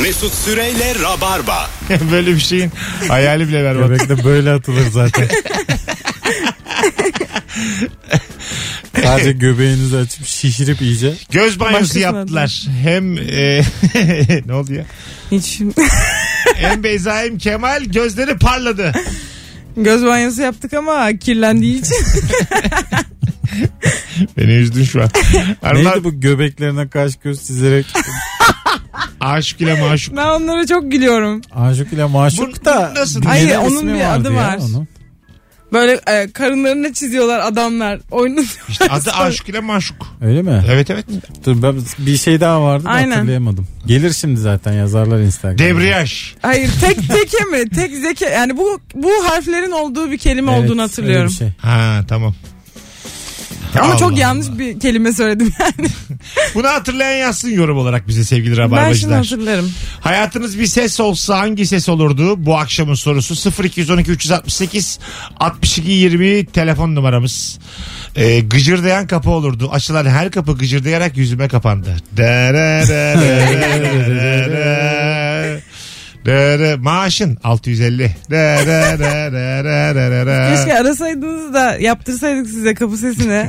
Mesut Süreyle Rabarba. Böyle bir şeyin hayali bile berbat. Göbekte böyle atılır zaten. Sadece göbeğinizi açıp şişirip iyice. Göz banyosu Başkasına yaptılar. Hem e, ne oldu ya? Hiç Hem Beyza hem Kemal gözleri parladı. göz banyosu yaptık ama kirlendiği için. Beni üzdün şu an. Arılar Neydi bu göbeklerine kaş göz çizerek aşık ile maşuk. ben onlara çok gülüyorum. aşık ile maşuk Bu- da. bu nasıl? yeni Hayır, bir onun ismi bir vardı adı ya var. onun. Böyle e, karınlarına çiziyorlar adamlar. Oynatıyorlar. İşte adı aşık ile maşuk. Öyle mi? Evet evet. Dur ben bir şey daha vardı da Aynen. hatırlayamadım. Gelir şimdi zaten yazarlar Instagram'da. Debriyaj. Hayır tek teke mi? Tek zeke. Yani bu bu harflerin olduğu bir kelime Evet, olduğunu hatırlıyorum. öyle bir şey. Ha tamam. Ama Allah çok Allah. yanlış bir kelime söyledim yani. Bunu hatırlayan yazsın yorum olarak bize sevgili ben şimdi rabarbacılar. hatırlarım. Hayatınız bir ses olsa hangi ses olurdu? Bu akşamın sorusu 0212 368 62 20 telefon numaramız. Ee, gıcırdayan kapı olurdu. Açılan her kapı gıcırdayarak yüzüme kapandı. Dere maaşın 650. Dere Ee? Keşke arasaydınız da yaptırsaydık size kapı sesini.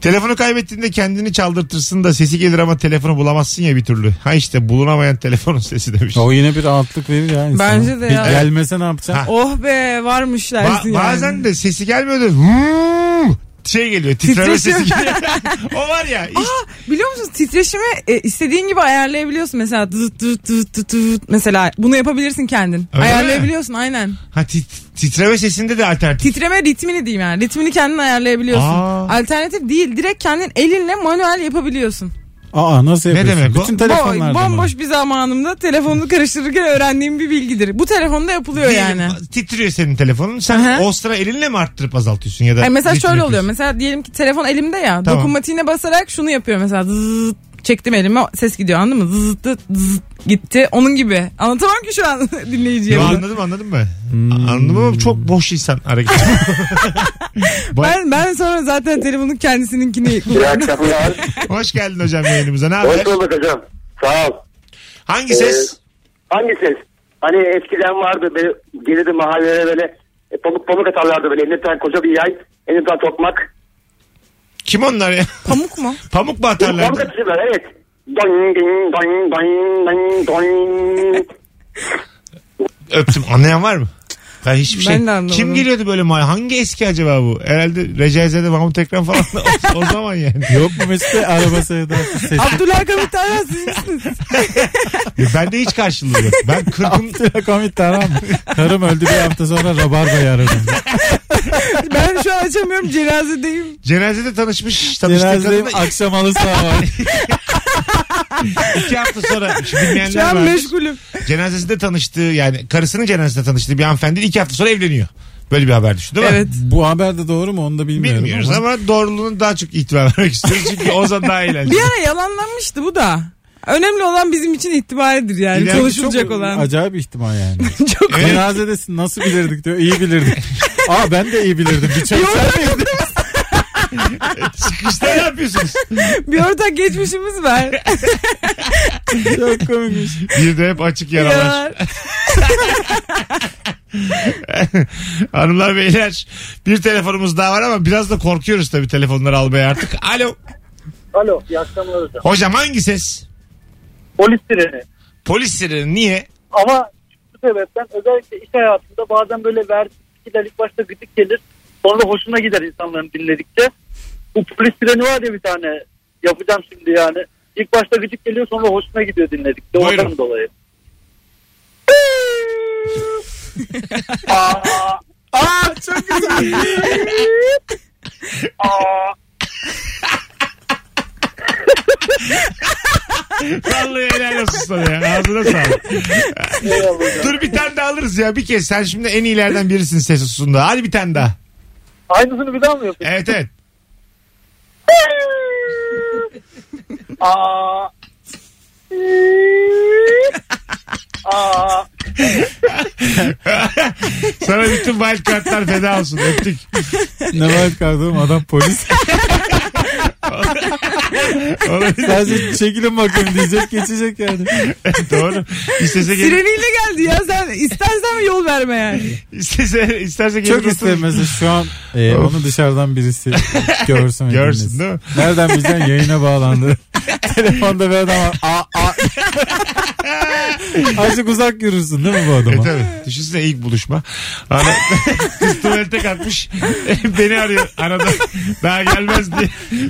Telefonu kaybettiğinde kendini çaldırtırsın da sesi gelir ama telefonu bulamazsın ya bir türlü. Ha işte bulunamayan telefonun sesi demiş. O yine bir rahatlık verir ya insana. Bence de Bir ya. gelmese ne yapacaksın? oh be varmış Ba- dersin yani. bazen de sesi gelmiyor da "Hmm" şey geliyor titreme sesi Titreşim. geliyor. o var ya iş- Biliyor musunuz titreşimi e, istediğin gibi ayarlayabiliyorsun mesela dıt dıt dıt dıt dıt. mesela bunu yapabilirsin kendin. Öyle ayarlayabiliyorsun aynen. ha, tit- titreme sesinde de alternatif. Titreme ritmini diyeyim yani. Ritmini kendin ayarlayabiliyorsun. Aa. Alternatif değil. Direkt kendin elinle manuel yapabiliyorsun. Aa nasıl Ne yapıyorsun? demek o? Bütün Boy, telefonlarda mı? bomboş bir zamanımda telefonunu karıştırırken öğrendiğim bir bilgidir. Bu telefonda yapılıyor Diyelim, yani. Titriyor senin telefonun. Sen Aha. o sıra elinle mi arttırıp azaltıyorsun ya da? Ay, mesela ritmi şöyle oluyor. yapıyorsun? Mesela diyelim ki telefon elimde ya. Tamam. Dokunmatiğine basarak şunu yapıyor mesela. Zıt, çektim elime ses gidiyor anladın mı? Zıt, zıt, zıt, gitti. Onun gibi. Anlatamam ki şu an dinleyiciye. Yo, bunu. anladım anladım mı? Anladım ama çok boş insan hareket. Ben, ben sonra zaten telefonun kendisininkini İyi akşamlar. Hoş geldin hocam yayınımıza. Ne Hoş haber? bulduk hocam. Sağ ol. Hangi ses? Hangi ses? Hani eskiden vardı böyle gelirdi mahallelere böyle e, pamuk pamuk atarlardı böyle elinde bir tane koca bir yay, elinde bir tane tokmak. Kim onlar ya? Pamuk mu? Pamuk mu Pamuk atarlardı? atışıyorlar evet. Doing, doing, doing, doing, doing, doing. Öptüm. Anlayan var mı? Ben hiçbir şey. Ben de anlamadım. Kim geliyordu böyle mahalleye? Hangi eski acaba bu? Herhalde Recaizade Mahmut Ekrem falan. o, o zaman yani. Yok mu mesela araba sevdası sesi? Abdülhakamit Aras siz misiniz? Ya Ben de hiç karşılığı yok. Ben kırkım... Komik tamam mı? Karım öldü bir hafta sonra rabarbayı aradım. Ben şu an açamıyorum cenazedeyim. Cenazede tanışmış. Tanıştığı Cenazeyim kadınla akşam halı saha var. iki hafta sonra. Şimdi Şu bilmeyenler an var. meşgulüm. Cenazesinde tanıştığı yani karısının cenazesinde tanıştığı bir hanımefendi iki hafta sonra evleniyor. Böyle bir haber düştü değil mi? Evet. Bu haber de doğru mu onu da bilmiyorum. Bilmiyoruz ama doğruluğunu daha çok ihtimal vermek istiyoruz. Çünkü o zaman daha eğlenceli. Bir ara yalanlanmıştı bu da. Önemli olan bizim için itibaridir yani İleride konuşulacak Çok olan. Acayip ihtimal yani. Çok Cenazedesin nasıl bilirdik diyor. İyi bilirdik. Aa ben de iyi bilirdim. Bir çay içer miydin? Çıkışta ne yapıyorsunuz? bir ortak geçmişimiz var. Çok komikmiş. Bir de hep açık yaralar. Ya. Hanımlar beyler bir telefonumuz daha var ama biraz da korkuyoruz tabii telefonları almaya artık. Alo. Alo iyi akşamlar hocam. Hocam hangi ses? Polis sireni. Polis sireni niye? Ama şu sebepten özellikle iş hayatında bazen böyle vertikler ilk başta gıcık gelir. Sonra da hoşuna gider insanların dinledikçe. Bu polis sireni var ya bir tane yapacağım şimdi yani. İlk başta gıcık geliyor sonra hoşuna gidiyor dinledikçe. Buyurun. Ondan dolayı. Vallahi helal olsun sana ya. Ağzına sağlık. Dur bir tane daha alırız ya bir kez. Sen şimdi en iyilerden birisin ses hususunda. Hadi bir tane daha. Aynısını bir daha mı yapıyorsun? Evet evet. Aa. Aa. Sana bütün wild kartlar feda olsun. Öptük. Ne var kardeşim adam polis. Olabilir. Sadece çekilin bakayım diyecek geçecek yani. Doğru. İstese gelir. Sireniyle geldi ya sen istersen mi yol verme yani. İstese, isterse gelir. Çok oturur. istemezse şu an e, onu dışarıdan birisi görsün. ve Görsün dinlesin. değil mi? Nereden bileceksin yayına bağlandı. Telefonda bir adam var. Aa, aa. Azıcık uzak yürürsün değil mi bu E adama? tabii. Düşünsene ilk buluşma. Ana, kız tuvalete kalkmış. Beni arıyor. Anada daha gelmez diye.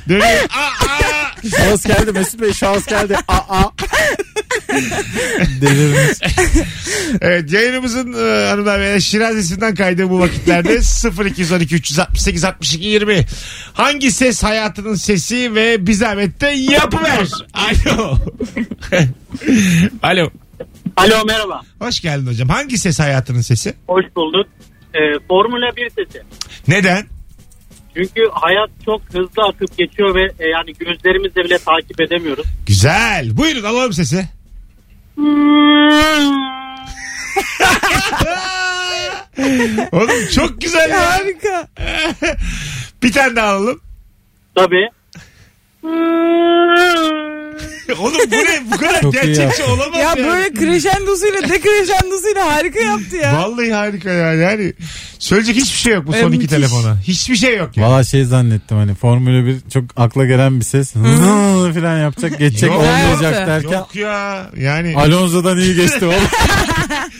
Dönüyor. Aa, aa. Şahıs geldi Mesut Bey şahıs geldi. Aa, aa. Delirmiş. Evet yayınımızın e, hanımlar beyler Şirazesi'nden kaydı bu vakitlerde 0212 368 62 20 hangi ses hayatının sesi ve bir zahmet de yapıver. Alo. Alo. Alo merhaba. Hoş geldin hocam. Hangi ses hayatının sesi? Hoş bulduk. Ee, Formula 1 sesi. Neden? Çünkü hayat çok hızlı akıp geçiyor ve e, yani gözlerimizle bile takip edemiyoruz. Güzel. Buyurun alalım sesi. Hmm. Oğlum çok güzel ya. Harika. Bir tane daha alalım. Tabii. Oğlum bu ne? Bu kadar Çok iyi gerçekçi yaptın. olamaz Ya yani. böyle kreşendosuyla dekreşendosuyla harika yaptı ya. Vallahi harika ya. Yani söyleyecek hiçbir şey yok bu E, son iki müthiş. telefona. Hiçbir şey yok ya. Valla şey zannettim hani Formula 1 çok akla gelen bir ses. falan yapacak geçecek Yok. olmayacak Yok. derken. Yok ya. Yani Alonso'dan iyi geçti oğlum.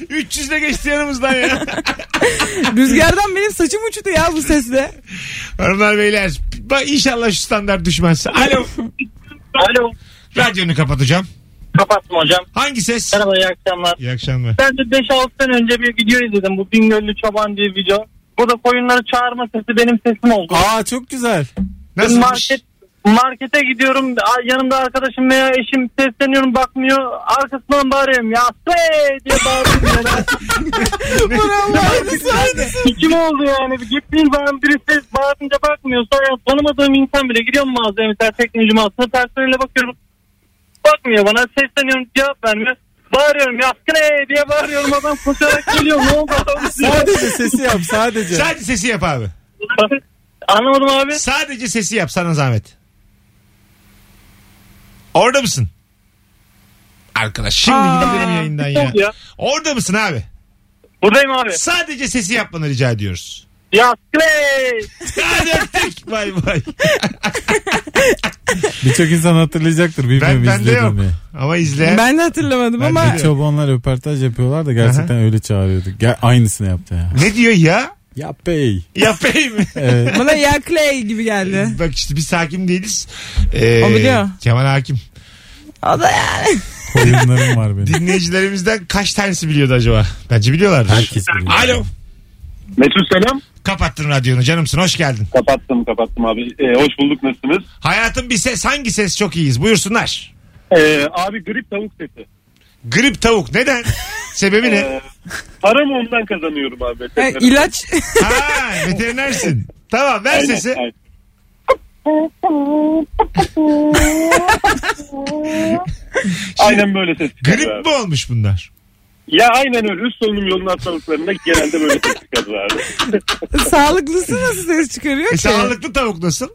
300 ile geçti yanımızdan ya. Rüzgardan benim saçım uçtu ya bu sesle. Hanımlar beyler. Bak inşallah şu standart düşmez. Alo. Alo. Radyonu kapatacağım. Kapattım hocam. Hangi ses? Merhaba iyi akşamlar. İyi akşamlar. Ben de 5-6 sene önce bir video izledim. Bu Bingöllü Çoban diye video. Burada koyunları çağırma sesi benim sesim oldu. Aa çok güzel. Ben Nasılmış? market markete gidiyorum a- yanımda arkadaşım veya eşim sesleniyorum bakmıyor arkasından bağırıyorum ya "Hey!" diye bağırıyorum yani. Bravo. Aynısı aynısı. İçim oldu yani gittiğim zaman biri ses bağırınca bakmıyor sonra ya tanımadığım insan bile gidiyorum mağazaya mesela teknoloji mağazasına personele bakıyorum bakmıyor bana sesleniyorum cevap vermiyor bağırıyorum yaskın "Hey!" diye bağırıyorum adam koşarak geliyor ne oldu adam diye. Sadece sesi yap sadece. Sadece sesi yap abi. anlamadım abi Sadece sesi yap sana zahmet. Orada mısın? Arkadaş şimdi gitti benim yayından ya. oldu ya? Orada mısın abi? buradayım abi Sadece sesi yapmanı rica ediyoruz. yaskın "Hey!" Hadi öptük. Bay bay. Birçok insan hatırlayacaktır Ben, bilmiyorum ben de yok. izledim diye. Ama izleyen. Ben de hatırlamadım Ben de ama Bir çobanlar röportaj yapıyorlar da gerçekten öyle çağırıyordu. Gel, aynısını yaptı ya. Ee, Ne diyor ya? Ya bey. Yapayım mı? Evet. bana ya Clay gibi geldi. Bak işte biz hakim değiliz. Ee, O biliyor. Kemal Hakim. O da yani. Koyunlarım var benim. Dinleyicilerimizden kaç tanesi biliyordu acaba? Bence biliyorlardır. Herkes biliyor. Alo. Mesut selam. Kapattın radyonu canımsın hoş geldin. Kapattım kapattım abi. Ee, hoş bulduk nasılsınız? Hayatın bir ses hangi ses çok iyiyiz buyursunlar. Ee, abi grip tavuk sesi. Grip tavuk neden? Sebebi ne? Ee, paramı ondan kazanıyorum abi. Yani ilaç ha veterinersin. Tamam ver Aynen, sesi. aynen. Aynen böyle ses çıkar Grip abi. mi olmuş bunlar? Ya aynen öyle. Üst solunum yolunun hastalıklarında genelde böyle ses çıkar abi. sağlıklısı nasıl ses çıkarıyor E, ki? sağlıklı tavuk nasıl?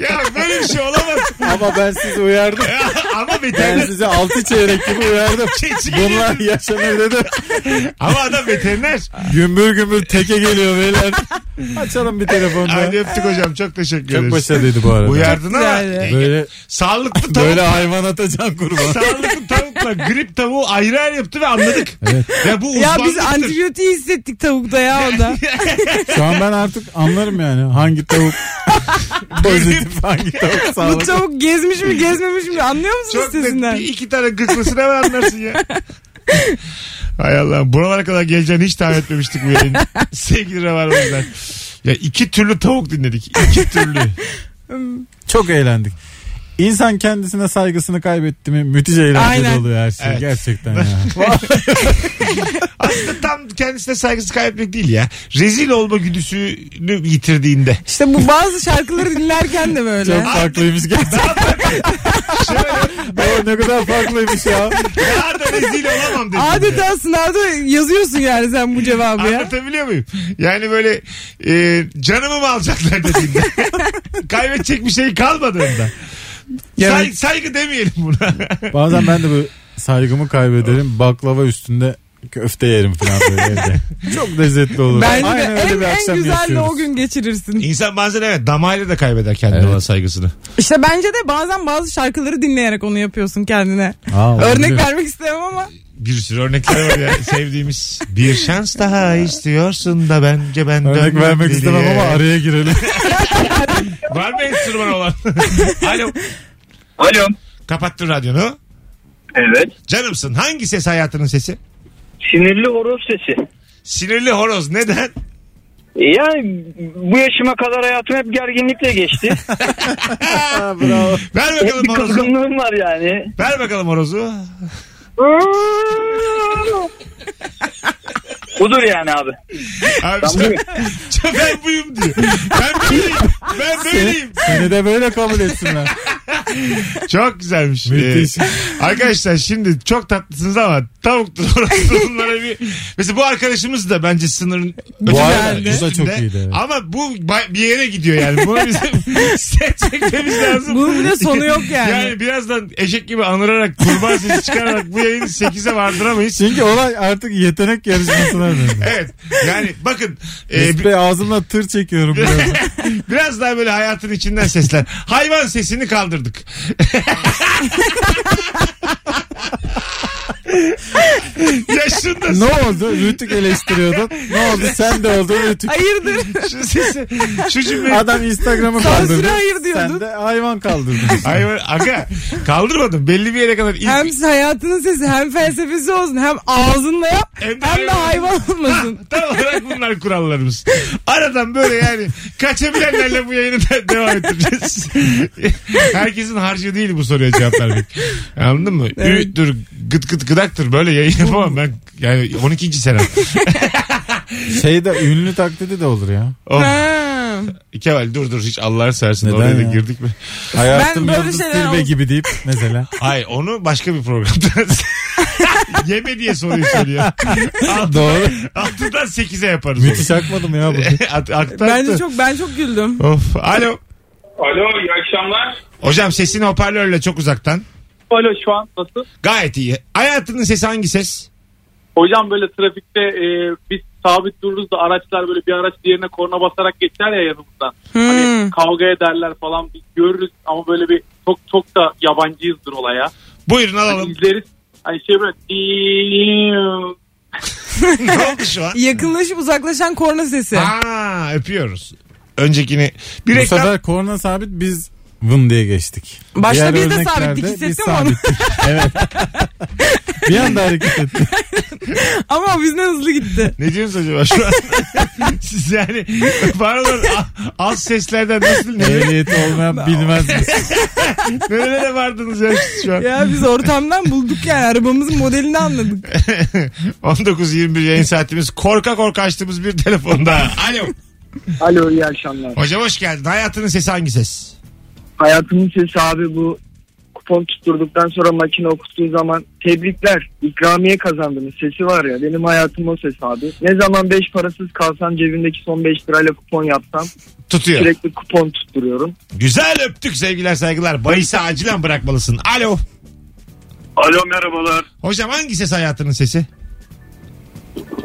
ya böyle bir şey olamaz. Ama ben sizi uyardım. Ya, ama Ben veteriner. sizi altı çeyrek gibi uyardım. Keçi geliyor. Bunlar yaşanır dedim. Ama adam veteriner. Gümbür gümbür teke geliyor beyler. Açalım bir telefonu. Hadi öptük hocam çok teşekkür Çok ederiz. başarılıydı bu arada. Uyardın ama. e, Güzel. Böyle Sağlıklı tavuk. böyle hayvan atacan kurban. Sağlıklı tavukla grip tavuğu ayrı ayrı yaptı ve anladık. Ve bu Ya biz uzmanlıktır. antibiyotiği hissettik tavukta ya onda. Şu an ben artık anlarım yani hangi tavuk pozitif hangi tavuk Bu sağlıklı. tavuk gezmiş mi gezmemiş mi anlıyor musunuz Çok net sesinden? bir iki tane gıklısını hemen anlarsın ya. Hay Allah. Buralara kadar geleceğini hiç tahmin etmemiştik bu yayın. Sevgili Rabarbacılar. Ya iki türlü tavuk dinledik. İki türlü. Çok eğlendik. İnsan kendisine saygısını kaybetti mi müthiş eğlenceli Aynen. oluyor her şey. Evet. Gerçekten ya. Aslında tam kendisine saygısı kaybetmek değil ya. Rezil olma güdüsünü yitirdiğinde. İşte bu bazı şarkıları dinlerken de Çok böyle. farklıymış gerçekten. Doğru, ne kadar farklıymış ya. Daha da rezil olamam dedim. Adeta sınavda yazıyorsun yani sen bu cevabı ya. Anlatabiliyor muyum? Yani böyle e, canımı mı alacaklar dediğinde. Kaybedecek bir şey kalmadığında. Yani- Say- saygı demeyelim buna. Bazen ben de böyle saygımı kaybederim. Baklava üstünde köfte yerim falan böyle evde. Çok lezzetli olur. Bence de Aynen öyle en, bir en akşam güzelle yaşıyoruz. o gün geçirirsin. İnsan bazen evet damayla da kaybeder kendine Evet. olan saygısını. İşte bence de bazen bazı şarkıları dinleyerek onu yapıyorsun kendine. Aa, Örnek olabilir. vermek istemem ama. Bir sürü örnekler var ya sevdiğimiz. Bir şans daha istiyorsun da bence ben Örnek dönmem vermek deliye. istemem ama araya girelim. Var mı enstrüman olan? Alo. Alo. Kapattın radyonu. Evet. Canımsın. Hangi ses hayatının sesi? Sinirli horoz sesi. Sinirli horoz. Neden? Yani bu yaşıma kadar hayatım hep gerginlikle geçti. Ver hep bakalım bir horozu. kızgınlığım var yani. Ver bakalım horozu. Budur yani abi. Abi Ben sen- buyum. sen ben buyum diyor. Ben böyleyim. Ben böyleyim. Seni de böyle kabul etsinler. Çok güzelmiş. Müthiş. Ee, arkadaşlar şimdi çok tatlısınız ama tavuktur orası bunlara bir... Mesela bu arkadaşımız da bence sınırın Bu arada ötesinde. bu da çok iyiydi. evet. Ama bu ba- bir yere gidiyor yani. Bunu bizim seçmemiz lazım. Bunun bir de sonu yok yani. Yani birazdan eşek gibi anırarak kurban sesi çıkararak bu yayını 8'e vardıramayız. Şey- Çünkü olay artık yetenek yarışmasına döndü. Evet. Yani bakın Ee, e, Mesut Bey ağzımla tır çekiyorum. biraz. Biraz daha böyle hayatın içinden sesler. Hayvan sesini kaldırdık. Yaşındasın. ne oldu? Rütük eleştiriyordun. Ne oldu? Sen de oldun Rütük. Hayırdır? Şu sesi. Şu cümleyi. Adam Instagram'ı Sansüre kaldırdı. hayır diyordun. Sen de hayvan kaldırdın. Hayvan, aga kaldırmadım. Belli bir yere kadar. ilk- Hem hayatının sesi hem felsefesi olsun hem ağzınla yap Hem hem de de, hayvan. hayvan olmasın. Tam olarak bunlar kurallarımız. Aradan böyle yani kaçabilenlerle bu yayını da devam ettireceğiz. Herkesin harcı değil bu soruya cevap vermek. Anladın mı? Evet. Üğüttür, gıt gıt gıdaktır. Böyle yayın yapamam ben. Yani 12. sene. Şeyde ünlü taklidi Şey de olur ya. Oh. Ha. Kemal dur dur hiç Allah'ını seversin Neden oraya da ya? girdik mi? Hayatım böyle yıldız şeyler tilbe olsun. gibi deyip mesela. Hayır onu başka bir programda. Yeme diye soruyu söylüyor. Doğru. 6'dan 8'e yaparız Müthiş onu. akmadım ya bu. At- aktı, Bence aktı. çok ben çok güldüm. Of. Alo. Alo iyi akşamlar. Hocam sesini hoparlörle çok uzaktan. Alo şu an nasıl? Gayet iyi. Hayatının sesi hangi ses? Hocam böyle trafikte e, biz sabit dururuz da araçlar böyle bir araç diğerine korna basarak geçer ya yanımızdan. Hmm. Hani kavga ederler falan biz görürüz ama böyle bir çok çok da yabancıyızdır olaya. Buyurun Hani alalım. izleriz. Hani şey böyle ne oldu şu an? Yakınlaşıp uzaklaşan korna sesi. Aa, öpüyoruz. Öncekini. Bir Bu reklam. sefer korna sabit biz vın diye geçtik. Başta biz de örneklerde sabittik, hissettim biz onu. sabittik. evet. bir anda hareket ettik. Ama o bizden hızlı gitti. Ne diyorsunuz acaba şu an? Siz yani pardon a- az seslerden nasıl ne, Ehliyeti olmayan bilmez mi? nerelere vardınız ya siz şu an? Ya biz ortamdan bulduk yani arabamızın modelini anladık. 19.21 yayın saatimiz. Korka korka açtığımız bir telefonda. Alo. Alo iyi akşamlar. Hocam hoş geldin. Hayatının sesi hangi ses? Hayatımın sesi abi bu kupon tutturduktan sonra makine okuttuğu zaman tebrikler ikramiye kazandınız sesi var ya benim hayatım o ses abi. Ne zaman 5 parasız kalsam cebimdeki son 5 lirayla kupon yapsam Tutuyor. sürekli kupon tutturuyorum. Güzel öptük sevgiler saygılar. Bayisi acilen bırakmalısın. Alo. Alo merhabalar. Hocam hangi ses hayatının sesi?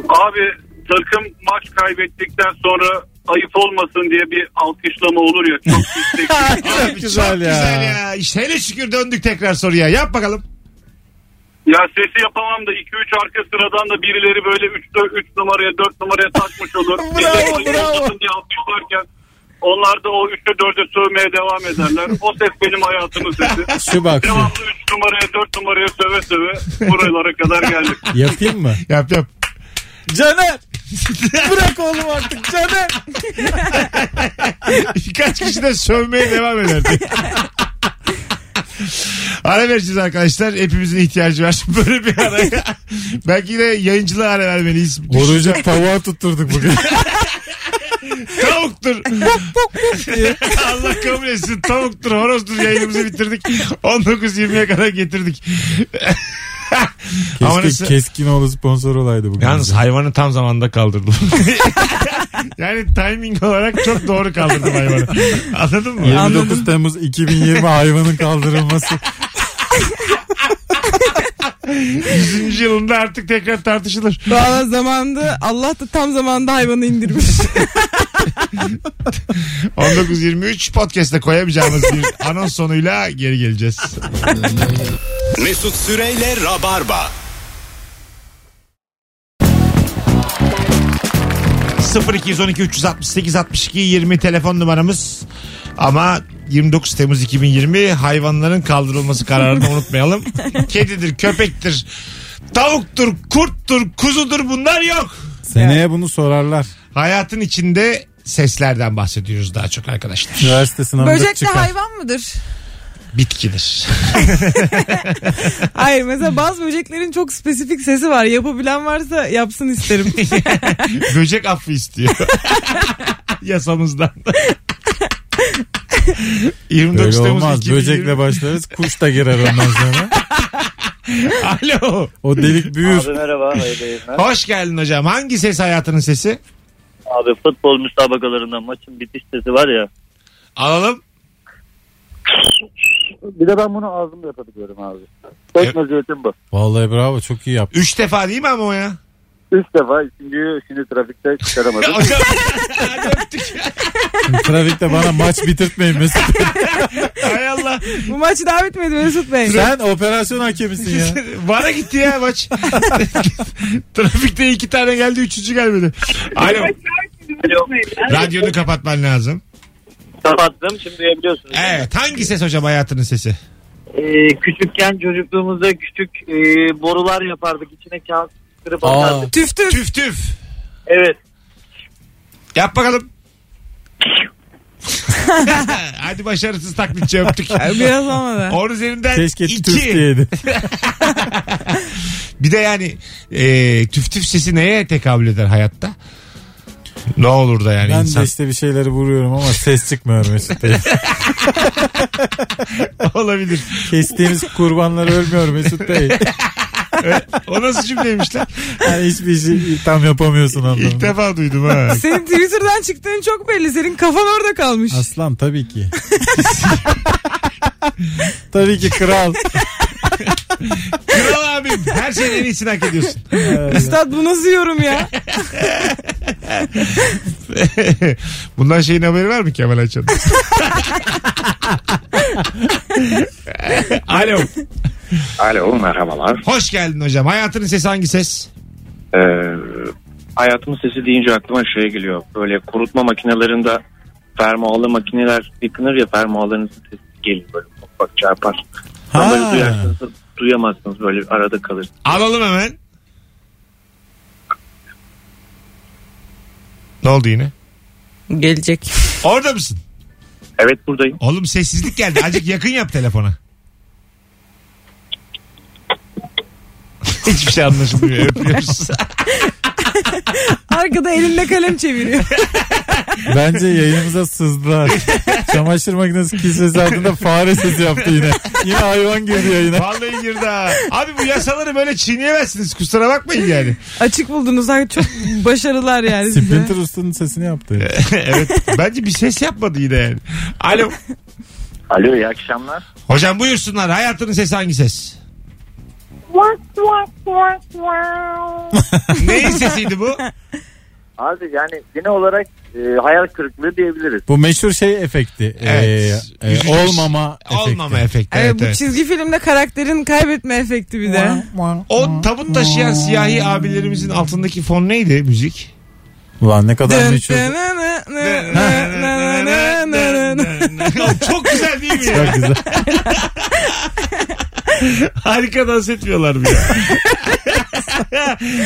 Abi takım maç kaybettikten sonra ayıp olmasın diye bir alkışlama olur ya. Çok yüksek. Abi, güzel çok ya. güzel ya. İşte hele şükür döndük tekrar soruya. Yap bakalım. ya sesi yapamam da 2-3 arka sıradan da birileri böyle 3 numaraya 4 numaraya takmış olur. Bravo, Millet bravo. olmasın diye alkışlarken onlar da o 3'e 4'e sövmeye devam ederler. O ses benim hayatımın sesi. Şu bak şu. Devamlı 3 numaraya 4 numaraya söve söve buralara kadar geldik. Yapayım mı? Yap yap. Caner! Bırak oğlum artık Caner! Birkaç kişi de sövmeye devam ederdi. Ara vereceğiz arkadaşlar. Hepimizin ihtiyacı var. Böyle bir araya. Belki de yayıncılığa ara vermeliyiz. Orucu tavuğa tutturduk bugün. Tavuktur. Allah kabul etsin. Tavuktur, horozdur yayınımızı bitirdik. 19.20'ye kadar getirdik. Ama Keşke nasıl- Keskinoğlu sponsor olaydı bugün. Yalnız hayvanı tam zamanda kaldırdım. yani timing olarak çok doğru kaldırdım hayvanı. Anladın mı? 29 Temmuz 2020 hayvanın kaldırılması. 100. yılında artık tekrar tartışılır. Valla zamanda Allah da tam zamanda hayvanı indirmiş. 19.23 podcast'te koyamayacağımız bir anons sonuyla geri geleceğiz. Mesut Süreyle Rabarba. 0212 368 62 20 telefon numaramız. Ama 29 Temmuz 2020 hayvanların kaldırılması kararını unutmayalım. Kedidir, köpektir, tavuktur, kurttur, kuzudur bunlar yok. Seneye bunu sorarlar. Hayatın içinde seslerden bahsediyoruz daha çok arkadaşlar. Üniversite sınavında Böcek de çıkar. hayvan mıdır? Bitkidir. Hayır mesela bazı böceklerin çok spesifik sesi var. Yapabilen varsa yapsın isterim. Böcek affı istiyor. Yasamızdan. 29 Böyle Temmuz olmaz. 2020. Böcekle başlarız. Kuş da girer ondan sonra. Alo. O delik büyür. Abi merhaba. hayırlı yayınlar. Hoş geldin hocam. Hangi ses hayatının sesi? Abi futbol müsabakalarından maçın bitiş sesi var ya. Alalım. Bir de ben bunu ağzımda yapabiliyorum abi. Evet. Tek meziyetim bu. Vallahi bravo çok iyi yaptın. Üç defa değil mi ama o ya? Üç defa ikinciyi şimdi trafikte çıkaramadım. Hocam Trafikte bana maç bitirtmeyin Mesut. hay Allah. Bu maç daha bitmedi Mesut Bey. Sen operasyon hakemisin ya. Bana gitti ya maç. Trafikte iki tane geldi üçüncü gelmedi. Alo. Radyonu kapatman lazım. Kapattım şimdi duyabiliyorsunuz. Evet. Hangi ses hocam hayatının sesi? Ee, küçükken çocukluğumuzda küçük e, borular yapardık. İçine kağıt kırıp Aa, atardık. Tüf tüf. Tüf tüf. Evet. Yap bakalım. Hadi başarısız taklitçi öptük. Biraz olmadı. Onun üzerinden keşke iki. Türk diyeydi. Bir de yani e, tüf tüf sesi neye tekabül eder hayatta? Ne olur da yani Ben insan. de işte bir şeyleri vuruyorum ama ses çıkmıyor Mesut Bey. Olabilir. Kestiğimiz kurbanlar ölmüyor Mesut Bey. O nasıl cümleymiş lan? Yani hiçbir şey tam yapamıyorsun İlk anlamında. defa duydum ha. Senin Twitter'dan çıktığın çok belli. Senin kafan orada kalmış. Aslan tabii ki. tabii ki kral. Kral abim her şeyin en iyisini hak ediyorsun. Üstad bu nasıl yorum ya? Bundan şeyin haberi var mı Kemal Açan? Alo. Alo merhabalar. Hoş geldin hocam. Hayatının sesi hangi ses? Ee, hayatımın sesi deyince aklıma şey geliyor. Böyle kurutma makinelerinde fermuarlı makineler yıkınır ya fermuarların sesi geliyor böyle bak, bak çarpar. Ha. Onları duyarsınız da duyamazsınız böyle arada kalır. Alalım hemen. Ne oldu yine? Gelecek. Orada mısın? Evet buradayım. Oğlum sessizlik geldi. Azıcık yakın yap telefona. Hiçbir şey anlaşılmıyor. Öpüyoruz. Arkada elinde kalem çeviriyor. Bence yayınımıza sızdılar. Çamaşır makinesi kisvesi altında fare sesi yaptı yine. Yine hayvan girdi yayına. Vallahi girdi ha. Abi bu yasaları böyle çiğneyemezsiniz. Kusura bakmayın yani. Açık buldunuz. Ay Çok başarılar yani size. Splinter Usta'nın sesini yaptı. evet. Bence bir ses yapmadı yine yani. Alo. Alo iyi akşamlar. Hocam buyursunlar. Hayatının sesi hangi ses? Neyin sesiydi bu? Abi yani yine olarak e, hayal kırıklığı diyebiliriz. Bu meşhur şey efekti. Evet. şey. Ee, e, olmama efekti. Olmama efekti. Evet, Evet, bu evet. çizgi filmde karakterin kaybetme efekti bir de. O tabut taşıyan siyahi abilerimizin altındaki fon neydi müzik? Ulan ne kadar Dın meşhur. dın nı nı nı nı nı nı nı nı. Çok güzel değil mi ya? Çok güzel. Harika dans etmiyorlar mı ya?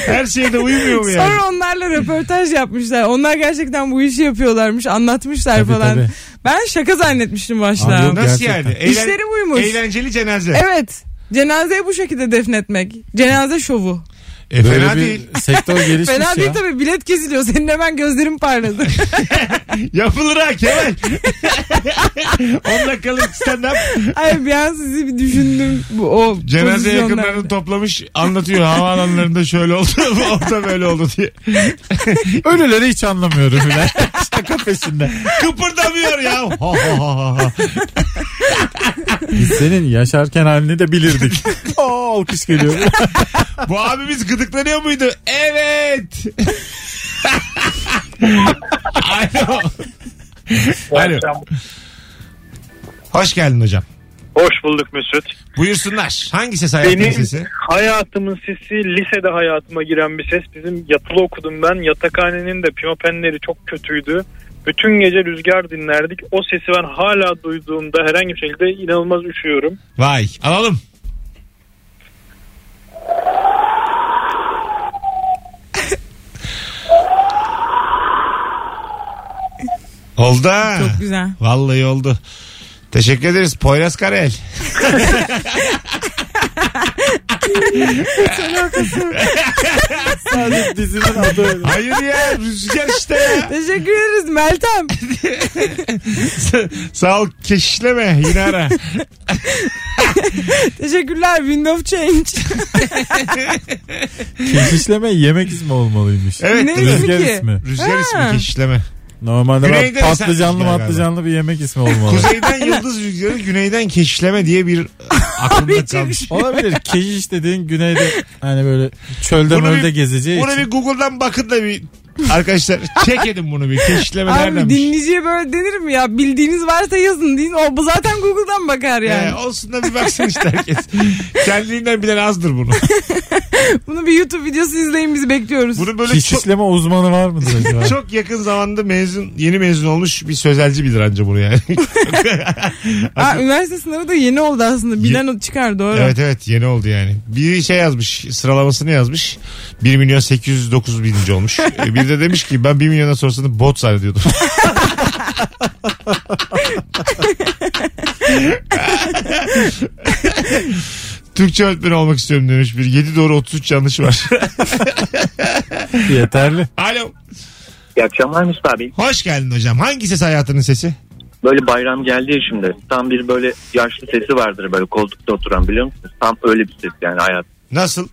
Her şeyde uyumuyor mu yani? Sonra onlarla röportaj yapmışlar. Onlar gerçekten bu işi yapıyorlarmış. Anlatmışlar Tabii, falan. tabii. Ben şaka zannetmiştim Abi başta. yok. Nasıl Gerçekten. yani? Eğlen- İşleri uymuş. Eğlenceli cenaze. Evet. Cenazeyi bu şekilde defnetmek. Cenaze şovu. E, Böyle fena bir değil. sektör gelişmiş Fena şey ya. değil tabii bilet kesiliyor. Senin hemen gözlerin parladı. Yapılır ha Kemal. 10 dakikalık stand up. Ay bir an sizi bir düşündüm. Bu, o Cenaze pozisyonlarda. yakınlarını toplamış anlatıyor havaalanlarında şöyle oldu orada böyle oldu diye. Ölüleri hiç anlamıyorum bile. Şaka peşinde. Kıpırdamıyor ya. Ha, ha, ha, ha. Biz senin yaşarken halini de bilirdik. Oo alkış geliyor. Bu abimiz gıdıklanıyor muydu? Evet. Alo. Alo. Hoş geldin hocam. Hoş bulduk Mesut. Buyursunlar. Hangi ses hayatın Benim- sesi? Hayatımın sesi lisede hayatıma giren bir ses. Bizim yatılı okudum ben. Yatakhanenin de pimapenleri çok kötüydü. Bütün gece rüzgar dinlerdik. O sesi ben hala duyduğumda herhangi bir şekilde inanılmaz üşüyorum. Vay alalım. Oldu ha. Çok güzel. Vallahi oldu. Teşekkür ederiz Poyraz Karayel. Sadece dizinin adı öyle. Hayır ya rüzgar işte ya. Teşekkür ederiz Meltem. Sağ ol keşişleme yine ara. Teşekkürler Windows Change. Keşişleme yemek ismi olmalıymış. Evet. ne ismi Rüzgar ki? ismi. Rüzgar Ha. ismi keşişleme. Normalde ben Güneyden patlıcanlı eser rüzgar patlıcanlı bir yemek ismi olmalı. Kuzeyden yıldız rüzgarı güneyden keşişleme diye bir aklımda kalmış. Olabilir. Keşiş dediğin güneyde hani böyle çölde Bunu bir- mölde gezeceği Bunu için. bir Google'dan bakın da bir arkadaşlar çek edin bunu bir şey? keşişleme Abi neredenmiş. dinleyiciye böyle denir mi ya? Bildiğiniz varsa yazın deyin. O bu zaten Google'dan bakar yani. Ee, olsun da bir baksın işte herkes. Kendiliğinden bilen azdır bunu. Bunu bir YouTube videosu izleyin bizi bekliyoruz. Bunu böyle çok, Keşişleme uzmanı var mıdır acaba? çok yakın zamanda mezun, yeni mezun olmuş bir sözelci bilir anca bunu yani. Aa, üniversite sınavı da yeni oldu aslında. Bilen o- çıkar doğru. Evet evet yeni oldu yani. Biri şey yazmış sıralamasını yazmış. 1 milyon 809 bininci olmuş. Ee, Biri de demiş ki ben 1 milyona sorsanı bot zannediyordum. Türkçe öğretmeni olmak istiyorum demiş bir. 7 doğru 33 yanlış var. Yeterli. Alo. İyi akşamlar Mesut abi. Hoş geldin hocam. Hangi ses hayatının sesi? Böyle bayram geldi ya şimdi. Tam bir böyle yaşlı sesi vardır böyle koltukta oturan biliyor musunuz? Tam öyle bir ses yani hayat. Nasıl?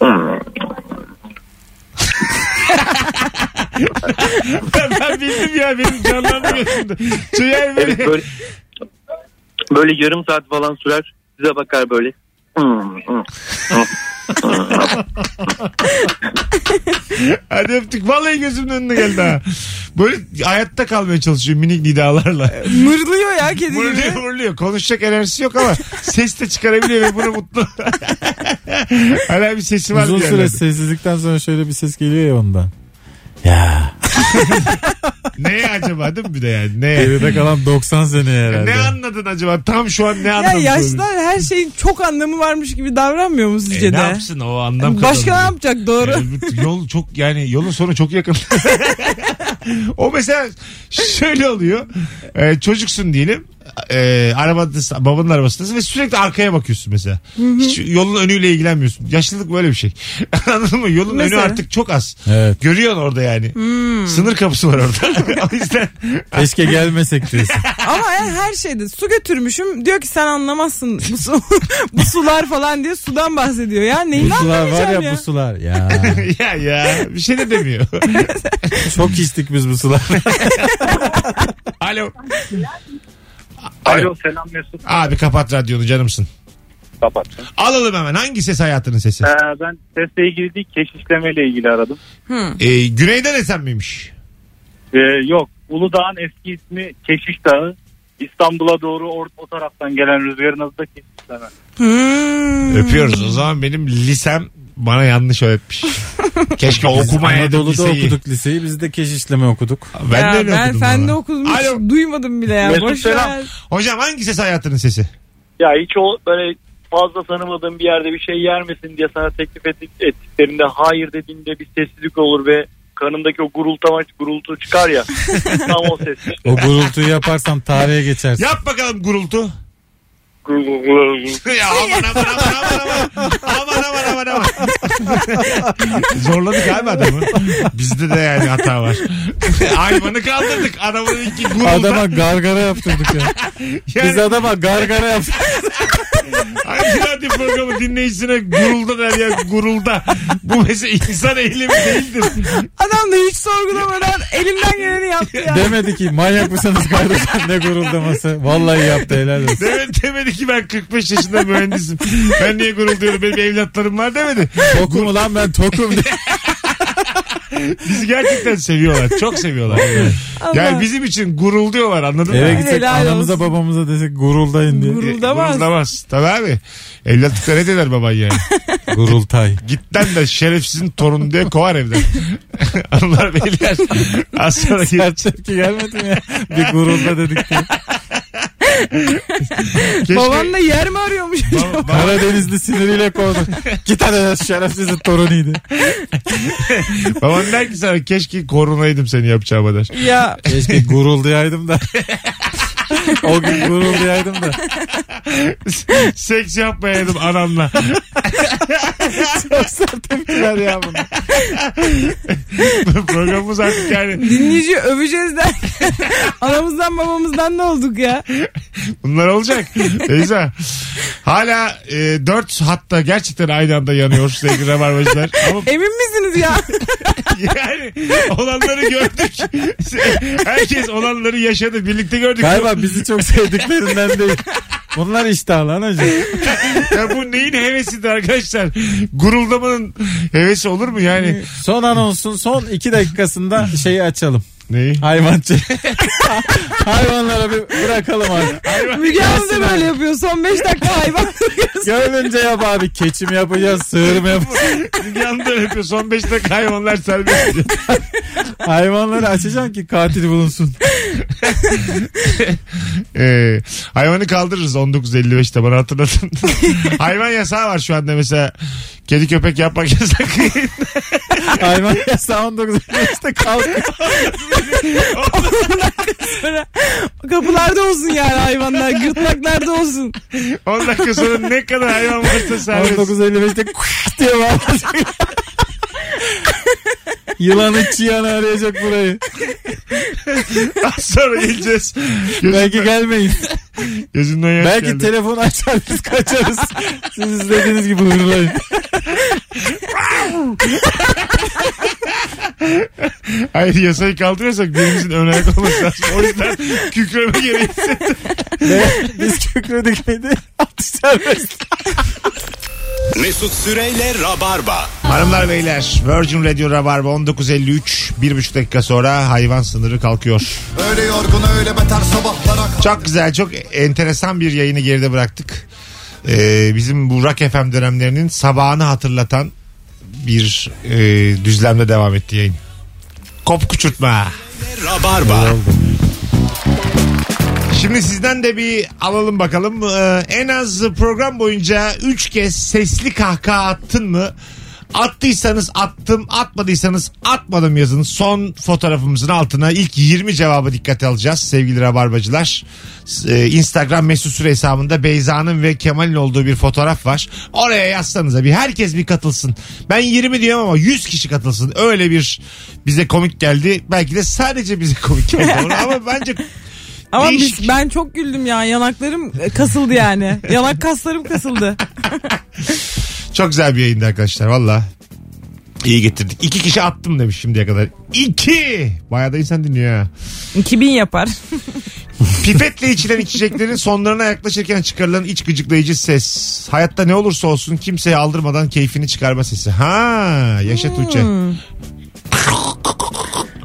Hmm. ben, ben bildim ya benim canlandı gözümde. Tüyer Evet beni. böyle böyle yarım saat falan sürer. Size bakar böyle. Hmm, hmm. Hadi öptük. Vallahi gözümün önüne geldi ha. Böyle hayatta kalmaya çalışıyor minik nidalarla. Mırlıyor ya kedi gibi. Vuruluyor vuruluyor. Konuşacak enerjisi yok ama ses de çıkarabiliyor ve bunu mutlu. Hala bir sesi var. Uzun bir süre yerlerde. sessizlikten sonra şöyle bir ses geliyor ya ondan. Ya. Ne acaba değil mi bir de yani? Ne? Geride kalan 90 seneye herhalde. ne anladın acaba? Tam şu an ne Ya anladın? yaşlılar her şeyin çok anlamı varmış gibi davranmıyor mu sizce E, ne de? yapsın o anlam Başka ne kazanıyor. yapacak doğru? E, yol çok yani yolun sonu çok yakın. o mesela şöyle oluyor. E, çocuksun diyelim. E, arabadasın, babanın arabasındasın ve sürekli arkaya bakıyorsun mesela. Hiç yolun önüyle ilgilenmiyorsun. Yaşlılık böyle bir şey. Anladın mı? Yolun Mesela. önü artık çok az. Evet. Görüyorsun orada yani. Sınır kapısı var orada. o yüzden Keşke gelmesek diyorsun. Ama yani her şeyde su götürmüşüm diyor ki sen anlamazsın bu, su, bu sular falan diye sudan bahsediyor ya bu neyini sular var anlamayacağım ya, ya. bu sular. Ya. ya ya bir şey de demiyor. Çok içtik biz bu sular. Alo. Alo selam Mesut. Abi kapat radyonu canımsın. Kapat. Alalım hemen. Hangi ses hayatının sesi? Ee, ben sesle ilgili değil keşişlemeyle ilgili aradım. Ee, güneyden esen miymiş? Ee, yok Uludağ'ın eski ismi Keşiş Dağı. İstanbul'a doğru or- o taraftan gelen rüzgarın adı da Keşişleme. Hmm. Öpüyoruz. O zaman benim lisem bana yanlış öğretmiş. Keşke okumayaydım Anadolu'da liseyi. okuduk liseyi. Biz de keşişleme okuduk. Ben de ya öyle ben okudum fende valla. okudum Alo. hiç duymadım bile ya. Mesut Boş selam. ver. Hocam hangi ses hayatının sesi? Ya hiç o böyle fazla tanımadığın bir yerde bir şey yer misin diye sana teklif et- ettiklerinde hayır dediğinde bir sessizlik olur ve kanımdaki o gurultamaç gurultu çıkar ya. tam o ses. O gurultuyu yaparsam tarihe geçersin. Yap bakalım gurultu. ya aman aman aman aman aman. Aman aman aman aman. Zorladık abi adamı. Bizde de yani hata var. Hayvanı kaldırdık. Adamın iki gurultu. Adama gargara yaptırdık ya. yani, Biz adama gargara yaptırdık. Hangi radyo programı dinleyicisine gurulda der ya gurulda. Bu mesela insan eylemi değildir. Adam da hiç sorgulamadan elimden geleni yaptı ya. Demedi ki manyak mısınız kardeşim ne guruldaması. Vallahi yaptı helal olsun. Demedi, demedi ki ben 45 yaşında mühendisim. Ben niye gurulduyorum benim evlatlarım var demedi. Tokum ulan ben tokum diye. Bizi gerçekten seviyorlar. Çok seviyorlar. Yani bizim için gurulduyorlar anladın Eve mı? gitsek Helal anamıza olsun. babamıza desek guruldayın diye. Guruldamaz. Guruldamaz. Tabii abi. Evlatlıkta ne der baban yani? Gurultay. Gitten de şerefsizin torunu diye kovar evden. Anlar beyler. Az sonra Her gel- tepki gelmedi mi ya? Bir gurulda dedik diye. keşke- Baban da yer mi arıyormuş? Baba- baba- Karadenizli siniriyle kovdu. Git hadi şerefsizin torunuydu. Baban der ki sana keşke korunaydım seni yapacağıma der. ya Keşke guruldayaydım da. o gün guruldayaydım da. Seks yapmayaydım anamla. Ver ya bunu. Programımız artık yani dinleyici öveceğiz der. Anamızdan babamızdan ne olduk ya? bunlar olacak. Beyza. Hala e, dört hatta gerçekten aynı anda yanıyor sevgili rabarbacılar. Ama Emin misiniz ya? yani olanları gördük. Herkes olanları yaşadı. Birlikte gördük. Galiba bizi çok sevdiklerinden değil. Bunlar iştahlı anacığım. Ya bu neyin hevesidir arkadaşlar? Guruldamanın hevesi olur mu yani? Son anonsun son iki dakikasında şeyi açalım. Neyi? Hayvancı. Hayvanlara bir bırakalım abi. Müge Hanım da böyle yapıyor. Son 5 dakika hayvan. Gönlünce yap abi. Keçi mi yapacağız? Sığır mı yapacağız? Yanında öpüyor. Son 5 dakika hayvanlar serbest. diyor. Hayvanları açacaksın ki katil bulunsun. Ee, hayvanı kaldırırız 19.55'te bana hatırlatın. Hayvan yasağı var şu anda mesela. Kedi köpek yapmak yasak. Hayvan yasağı 19 işte kalkıyor. Kapılarda olsun yani hayvanlar. Gırtlaklarda olsun. 10 dakika sonra ne kadar hayvan varsa serbest. 19.55'te kuş diye bağıracak. Yılanı çıyanı arayacak burayı. Az sonra geleceğiz. Belki Gözümden, gelmeyin. gözümden yaş Belki geldi. telefon açar biz kaçarız. Siz istediğiniz gibi hırlayın. Hayır yasayı kaldırırsak birimizin ön ayak olması lazım. O yüzden kükreme gereği hissettim. Ne? Biz kükredik miydi? Atış serbest. Mesut Süreyle Rabarba. Hanımlar beyler Virgin Radio Rabarba 19.53 bir buçuk dakika sonra hayvan sınırı kalkıyor. Öyle yorgun öyle beter sabahlara Çok güzel çok enteresan bir yayını geride bıraktık. Ee, bizim bu Rock FM dönemlerinin sabahını hatırlatan bir e, düzlemde devam etti yayın. Kop kuçurtma. Rabarba. Şimdi sizden de bir alalım bakalım. Ee, en az program boyunca 3 kez sesli kahkaha attın mı? Attıysanız attım, atmadıysanız atmadım yazın. Son fotoğrafımızın altına ilk 20 cevabı dikkate alacağız sevgili rabarbacılar. Ee, Instagram mesut süre hesabında Beyza'nın ve Kemal'in olduğu bir fotoğraf var. Oraya yazsanıza bir herkes bir katılsın. Ben 20 diyorum ama 100 kişi katılsın. Öyle bir bize komik geldi. Belki de sadece bize komik geldi. ama bence Ama Değişik. biz, ben çok güldüm ya. Yanaklarım e, kasıldı yani. Yanak kaslarım kasıldı. Çok güzel bir yayındı arkadaşlar valla. İyi getirdik. İki kişi attım demiş şimdiye kadar. İki! Bayağı da insan dinliyor ha. 2000 yapar. Pipetle içilen içeceklerin sonlarına yaklaşırken çıkarılan iç gıcıklayıcı ses. Hayatta ne olursa olsun kimseye Hmm. aldırmadan keyfini çıkarma sesi. Ha, yaşa Tuğçe.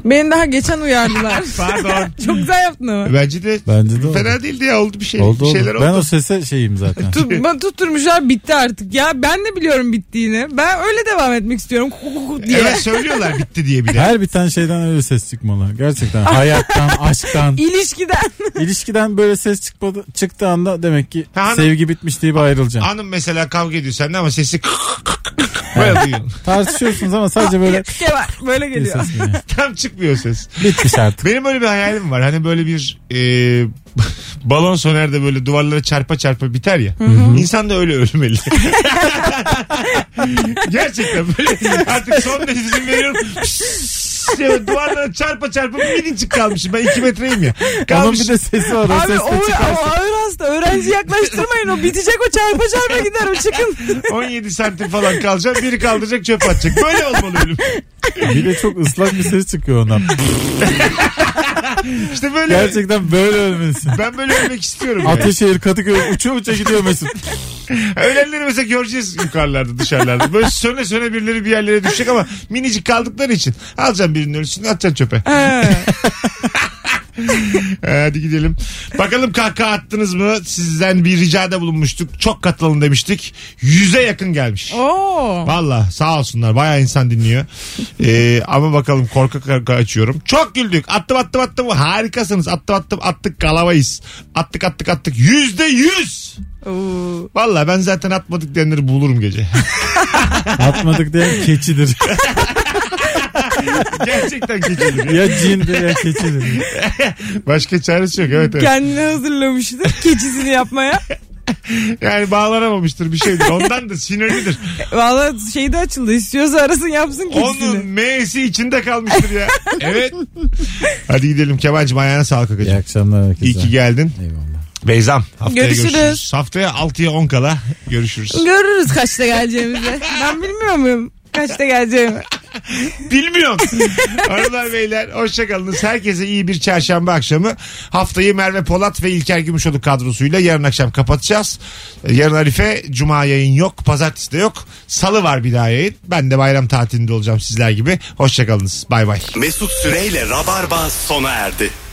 Beni daha geçen uyardılar. Pardon. Çok güzel yaptın ama. E, Bence de Bence de oldu. fena değildi ya oldu bir şey. oldu, bir oldu. şeyler oldu. Ben o sese şeyim zaten. Tut, bana tutturmuşlar bitti artık ya. Ben de biliyorum bittiğini. Ben öyle devam etmek istiyorum. Kuk kuk kuk diye. Evet söylüyorlar bitti diye bir de. Her bir tane şeyden öyle ses çıkmalı. Gerçekten hayattan, aşktan, İlişkiden. ilişkiden böyle ses çıkmadı, çıktığı anda demek ki Ha, hanım. sevgi bitmiş diye bir ayrılacaksın. Hanım mesela kavga ediyor seninle ama sesi böyle duyuyor. Tartışıyorsunuz ama sadece böyle Şey var, böyle bir geliyor. ses geliyor. Tam çıkmıyor ses. Bitmiş artık. Benim öyle bir hayalim var. Hani böyle bir e, balon sonerde böyle duvarlara çarpa çarpa biter ya. İnsan da öyle ölmeli. Gerçekten böyle artık son nefesimi veriyorum. Şöyle duvarlara çarpa çarpa minicik kalmışım. Ben 2 metreyim ya. Onun Kalmışım. bir de sesi var. O Abi ses o, de çıkar. o ağır hasta. Öğrenci yaklaştırmayın. O bitecek o çarpa çarpa gider o çıkın. 17 santim falan kalacağım. Biri kaldıracak çöp atacak. Böyle olmalı ölüm. Bir de çok ıslak bir ses çıkıyor ondan. İşte böyle. Gerçekten böyle ölmesin. Ben böyle ölmek istiyorum. yani. Ataşehir Kadıköy uça uça gidiyor Mesut. Ölenleri mesela göreceğiz yukarılarda dışarılarda. Böyle söne söne birileri bir yerlere düşecek ama minicik kaldıkları için. Alacaksın birinin ölüsünü atacaksın çöpe. Ee, Hadi gidelim. Bakalım kahkaha attınız mı? Sizden bir ricada bulunmuştuk. Çok katılalım demiştik. Yüze yakın gelmiş. Oo. Valla sağ olsunlar bayağı insan dinliyor. Ee, ama bakalım korkak korka açıyorum. Çok güldük. Attım attım attım. Harikasınız. Attım attım attık kalabayız. Attık attık attık. Yüzde yüz. Oo. Valla ben zaten atmadık diyenleri bulurum gece. Atmadık diyen keçidir. Gerçekten geceleri. ya cindir ya keçidir. Başka çaresi yok evet, evet. Kendini hazırlamıştı keçisini yapmaya. Yani bağlanamamıştır bir şeydir. Ondan da sinirlidir. Vallahi şey de açıldı. İstiyorsa arasın yapsın keçisini. Onun M'si içinde kalmıştır ya. Evet. Hadi gidelim Kemal'cim ayağına sağlık İyi akıcı. akşamlar herkese. İyi ki geldin. Eyvallah. Beyzam haftaya görüşürüz. Görüşürüz. Haftaya 6'ya 10 kala görüşürüz. Görürüz kaçta geleceğimizi. ben bilmiyor muyum? Kaçta geleceğimi. Bilmiyorum. Hanımlar beyler hoşçakalınız. Herkese iyi bir çarşamba akşamı. Haftayı Merve Polat ve İlker Gümüşoluk kadrosuyla yarın akşam kapatacağız. Ee, Yarın Arife Cuma yayın yok. Pazartesi de yok. Salı var bir daha yayın. Ben de bayram tatilinde olacağım sizler gibi. Hoşçakalınız. Bay bay. Mesut Süreyle Rabarba sona erdi.